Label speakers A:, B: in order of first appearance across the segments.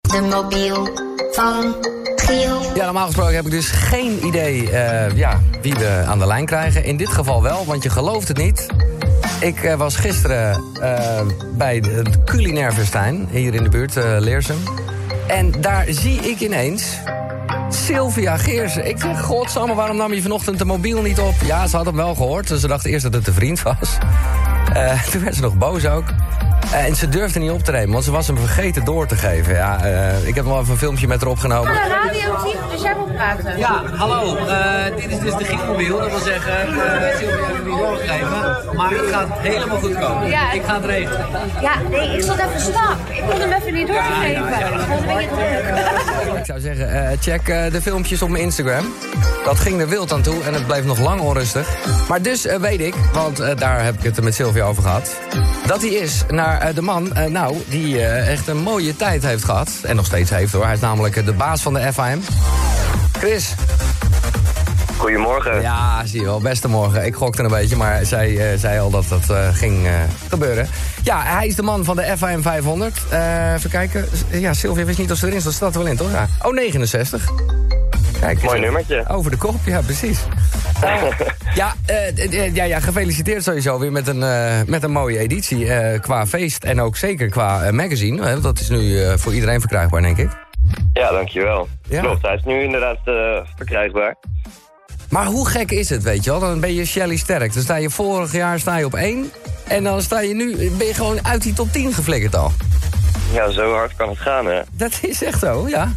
A: de mobiel van Giel.
B: Ja, normaal gesproken heb ik dus geen idee eh, ja, wie we aan de lijn krijgen. In dit geval wel, want je gelooft het niet. Ik eh, was gisteren eh, bij de- het culinair festijn hier in de buurt, eh, Leersum. En daar zie ik ineens Sylvia Geersen. Ik zeg, godsamme, waarom nam je vanochtend de mobiel niet op? Ja, ze had hem wel gehoord, dus ze dacht eerst dat het een vriend was. Eh, toen werd ze nog boos ook. Eh, en ze durfde niet op te nemen, want ze was hem vergeten door te geven. Ja, eh, ik heb nog even een filmpje met haar opgenomen.
C: radioteam, dus jij moet praten.
D: Ja, hallo. Eh, dit is dus de Gietmobiel. Dat wil zeggen, eh Sylvia heeft me niet doorgegeven. Maar het gaat helemaal goed komen.
C: Ja.
D: Ik ga het regelen.
C: Ja, nee, ik zat even stap. Ik kon hem even niet doorgeven. Ik was een beetje druk.
B: Ik zou zeggen, eh, check eh, de filmpjes op mijn Instagram. Dat ging er wild aan toe en het bleef nog lang onrustig. Maar dus eh, weet ik, want eh, daar heb ik het met Sylvia over gehad... dat hij is naar eh, de man, eh, nou, die eh, echt een mooie tijd heeft gehad. En nog steeds heeft hoor. Hij is namelijk eh, de baas van de FIM. Chris,
E: Goedemorgen.
B: ja, zie je wel. Beste morgen. Ik gokte een beetje, maar zij eh, zei al dat dat eh, ging eh, gebeuren. Ja, hij is de man van de FIM 500. Eh, even kijken. Ja, Sylvia wist niet of ze erin zat. Staat er wel in, toch? Ja. Oh, 69. Kijk,
E: Mooi
B: eh,
E: nummertje.
B: Over de kop, ja, precies. Eh, ja, eh, eh, eh, ja, ja, gefeliciteerd sowieso weer met een, eh, met een mooie editie. eh, qua feest en ook zeker qua eh, magazine. hè, want dat is nu eh, voor iedereen verkrijgbaar, denk ik.
E: Ja, dankjewel.
B: Ja.
E: Klopt, hij is nu inderdaad eh, verkrijgbaar.
B: Maar hoe gek is het, weet je wel? Dan ben je Shelly Sterk. Dan sta je vorig jaar sta je op één. En dan sta je nu, ben je gewoon uit die top 10 geflikkerd al.
E: Ja, zo hard kan het gaan, hè.
B: Dat is echt zo, ja.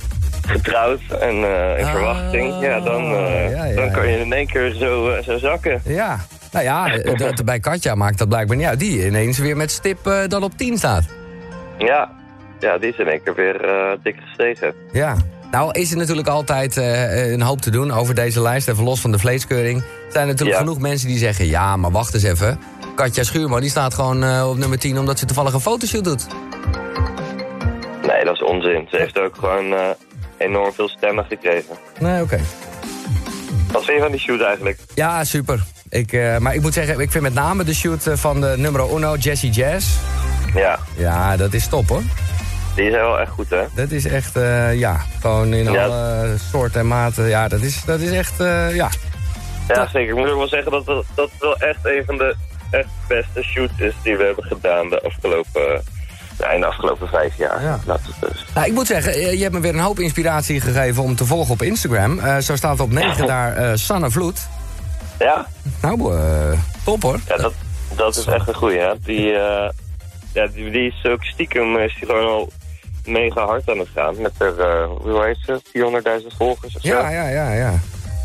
E: Getrouwd en eh, in
B: Ah,
E: verwachting. Ja, dan, eh,
B: ja, ja,
E: dan kan je
B: ja.
E: in één keer zo, eh, zo zakken.
B: Ja. Nou ja, eh, dat, bij Katja maakt dat blijkbaar niet uit. Die ineens weer met stip eh, dan op 10 staat.
E: Ja. ja, die is in één keer weer eh, dik gestegen.
B: Ja. Nou is er natuurlijk altijd eh, een hoop te doen over deze lijst. Even los van de vleeskeuring. Zijn er natuurlijk
E: Ja.
B: genoeg mensen die zeggen... ja, maar wacht eens even. Katja Schuurman die staat gewoon eh, op nummer 10... omdat ze toevallig een fotoshoot doet.
E: Nee, dat is onzin. Ze heeft ook gewoon eh, enorm veel stemmen gekregen.
B: Nee, oké.
E: Wat vind je van die shoot eigenlijk?
B: Ja, super. Ik, eh, maar ik moet zeggen, ik vind met name de shoot eh, van de nummer uno, Jesse Jazz.
E: Ja,
B: Ja, dat is top hoor.
E: die is wel echt goed, hè.
B: Dat is echt, eh, ja, gewoon in
E: Ja.
B: alle soorten en maten. Ja, dat is, dat is echt, eh, ja.
E: Ja, zeker. Ik moet ook wel zeggen dat dat, dat wel echt een van de echt beste shoots is die we hebben gedaan de afgelopen, nou, in de afgelopen vijf jaar.
B: Ja.
E: Laat het dus.
B: Nou, ik moet zeggen, eh, je hebt me weer een hoop inspiratie gegeven om te volgen op Instagram. Eh, zo staat op 9 daar eh, Sanne Vloed.
E: Ja,
B: Nou, eh, top hoor.
E: ja dat, dat is echt een goeie. Hè? Die, eh, ja, die, die is ook stiekem is die gewoon al mega hard aan het gaan. Met haar, eh, hoe heet ze, 400.000 volgers of zo.
B: Ja, ja, ja, ja.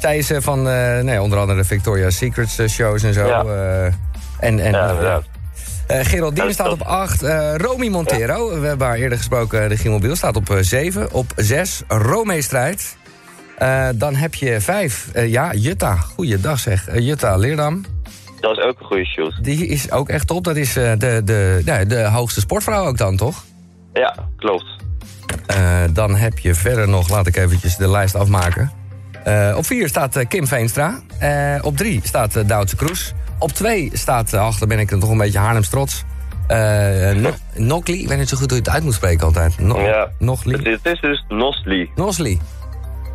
B: Zij is eh, van, eh, nee, onder andere de Victoria's Secrets eh, shows en zo.
E: Ja.
B: eh, en, en,
E: Ja, inderdaad.
B: Eh Geraldine
E: Ja,
B: staat
E: dat-
B: op 8. Romy Montero, we hebben haar eerder gesproken, eh, de Gimobiel, staat op 7. op 6, Romee Strijd. Eh, dan heb je 5. ja, Jutta. Goeiedag zeg. Eh, Jutta Leerdam.
E: Dat is ook een goede shoot.
B: Die is ook echt top. Dat is eh, de, de, nou, de hoogste sportvrouw ook dan, toch?
E: Ja, klopt.
B: Eh, dan heb je verder nog, laat ik eventjes de lijst afmaken. Eh, op 4 staat eh, Kim Veenstra. Eh, op 3 staat eh Duitse Kroes. Op 2 staat, eh, ach, daar ben ik dan toch een beetje Haarlems trots. Eh eh, No- Nokli, ik weet niet zo goed hoe je het uit moet spreken altijd. No
E: Ja. Het,
B: Nogli.
E: is- het is dus Nosli.
B: Nosli.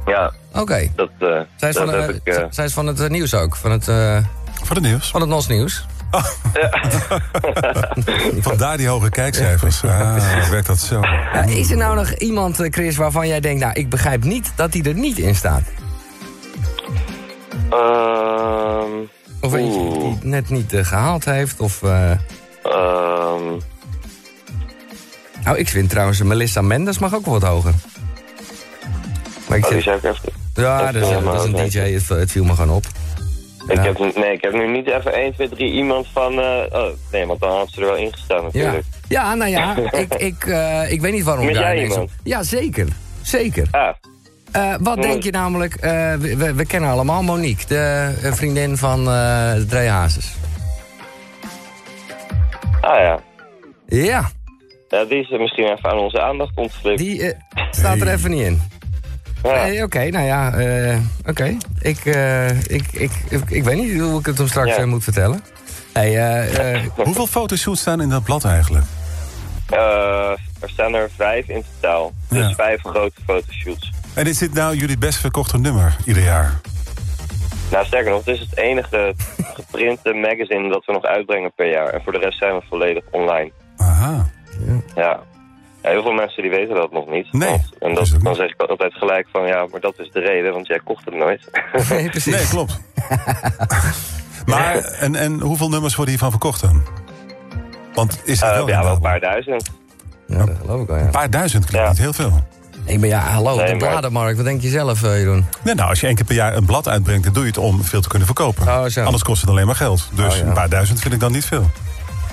E: Ja,
B: Oké.
E: dat, eh
B: Zij, is
E: dat
B: van, eh,
E: heb ik... eh,
B: z- zij is van het eh, nieuws ook. Van het, eh,
F: Voor het nieuws.
B: van het Nos-nieuws.
F: Vandaar die hoge kijkcijfers. Ah, werkt dat zo.
B: Ja, is er nou nog iemand, eh, Chris, waarvan jij denkt... nou, ik begrijp niet dat hij er niet in staat?
E: eh, ehm,
B: Of eentje die
E: Oeh.
B: het net niet eh, gehaald heeft? Of, eh,
E: ehm,
B: Nou, ik vind trouwens eh, Melissa Mendes mag ook wel wat hoger. Maar ik
E: Oh, die
B: zit,
E: zou ik even...
B: ja, dat is,
E: Ja, maar
B: dat is een
E: oké.
B: DJ, het, het viel me gewoon op.
E: Ik
B: Ja.
E: heb, nee, ik heb nu niet even 1, 2, 3 iemand van... eh, oh, nee, want dan had ze er wel ingestaan
B: Ja,
E: natuurlijk.
B: ja nou ja, ik, ik, eh, ik weet niet waarom
E: Met
B: daar
E: jij
B: ineens
E: iemand?
B: op- Ja, zeker. Zeker.
E: Ja.
B: Eh, wat denk je namelijk, eh, we, we- we kennen allemaal Monique, de eh, vriendin van eh Dre Hazes.
E: Ah ja.
B: Ja,
E: ja. Die is er misschien even aan onze aandacht ontvlucht.
B: die eh, staat er even niet in.
E: Ja.
B: Nee, Oké, nou ja, eh, oké. Ik, eh, ik, ik, ik, ik weet niet hoe ik het hem straks
E: Ja.
B: eh, moet vertellen. Hey, eh, eh,
F: Hoeveel fotoshoots staan in dat blad eigenlijk?
E: Eh, Er staan er vijf in totaal. Dus
F: Ja.
E: vijf grote fotoshoots.
F: En is dit nou jullie best verkochte nummer ieder jaar?
E: Nou, sterker nog, het is het enige geprinte magazine dat we nog uitbrengen per jaar. En voor de rest zijn we volledig online.
F: Aha.
E: Ja. Ja, heel veel mensen die weten dat nog niet.
F: Nee,
E: Want- en
F: dat
E: dat,
F: is ook
E: dan
F: niet.
E: zeg ik altijd gelijk van ja, maar dat is de reden, want jij kocht het nooit.
B: Nee, precies.
F: Nee, klopt. maar, en, en hoeveel nummers worden hiervan verkocht dan? Want is Oh, dat
E: Eh,
F: wel
E: ja, wel
F: rendabel?
E: een paar duizend.
B: Ja, dat geloof ik wel, ja.
F: Een paar duizend klinkt
E: Ja.
F: niet heel veel.
B: Ik ben, ja, hallo,
E: Nee,
B: de
E: maar-
B: bladenmarkt. Wat denk je zelf, eh, Jeroen?
F: Nee, nou, als je één keer per jaar een blad uitbrengt, dan doe je het om veel te kunnen verkopen.
B: Oh, zo.
F: Anders kost het alleen maar geld. Dus
B: Oh, ja.
F: een paar duizend vind ik dan niet veel.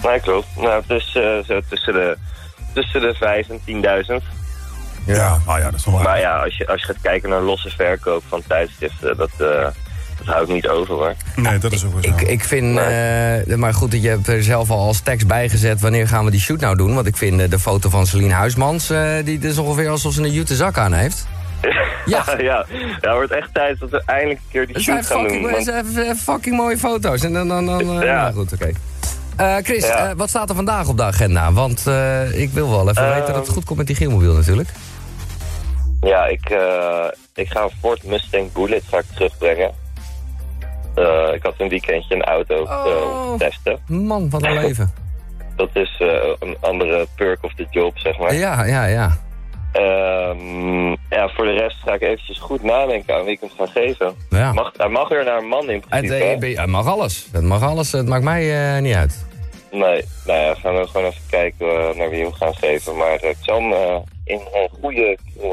E: Nee, klopt. Nou, het is eh, zo tussen de, tussen de vijf en 10.000.
F: Ja, nou ja, dat is nog wel.
E: Maar ja, als je, als je gaat kijken naar losse verkoop van tijdschriften, dat, eh dat houdt niet over hoor.
F: Nee, dat is ook wel zo.
B: Ik, ik vind, eh, maar goed, je hebt er zelf al als tekst bijgezet... wanneer gaan we die shoot nou doen? Want ik vind eh, de foto van Celine Huismans... eh, die is ongeveer alsof ze een jute zak aan heeft. Ja.
E: ja, ja, het wordt echt tijd dat we eindelijk een keer die
B: Het zijn
E: shoot gaan doen.
B: fucking,
E: want-
B: het zijn f- f- fucking mooie foto's. En dan, dan, dan eh,
E: Ja.
B: nou goed, oké. Eh, Chris,
E: Ja.
B: eh, wat staat er vandaag op de agenda? Want eh, ik wil wel even
E: Ehm.
B: weten dat het goed komt met die Gielmobiel natuurlijk.
E: Ja, ik, eh, ik ga een Ford Mustang Bullet ga ik terugbrengen. Eh, ik had een weekendje een auto
B: Oh.
E: eh, testen.
B: Man, wat een leven.
E: Dat is eh, een andere perk of the job, zeg maar.
B: Ja, ja, ja.
E: Ehm, ja, voor de rest ga ik eventjes goed nadenken aan wie ik hem ga geven.
B: Ja.
E: Mag, hij mag weer naar een man in
B: Het,
E: principe.
B: eh,
E: hè?
B: je bent- het mag alles. Het mag alles. Het maakt mij eh, niet uit.
E: Nee, nou ja, gaan we gewoon even kijken eh, naar wie we hem gaan geven. Maar eh, ik zal hem eh, in een goede eh,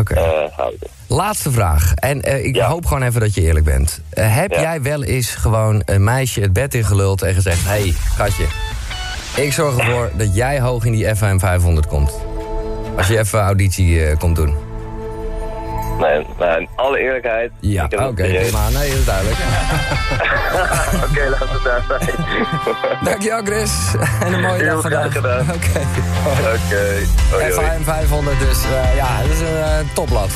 B: Oké.
E: eh, houden.
B: Laatste vraag. En eh, ik
E: Ja.
B: hoop gewoon even dat je eerlijk bent. Eh, heb
E: Ja.
B: jij wel eens gewoon een meisje het bed ingeluld en gezegd... Hé, hey, gatje, ik zorg ervoor dat jij hoog in die FM 500 komt. Als je even auditie eh, komt doen.
E: Nee, maar in alle eerlijkheid.
B: Ja,
E: ik heb
B: oké.
E: het serieus.
B: prima. Nee, dat is duidelijk.
E: Oké, laten we het daar zijn.
B: Dankjewel, Chris. En een mooie dag
E: Heel
B: vandaag.
E: graag gedaan.
B: Oké.
E: Oké. Hoi, hoi.
B: FM 500 dus. eh, ja, dat is een eh, topblad.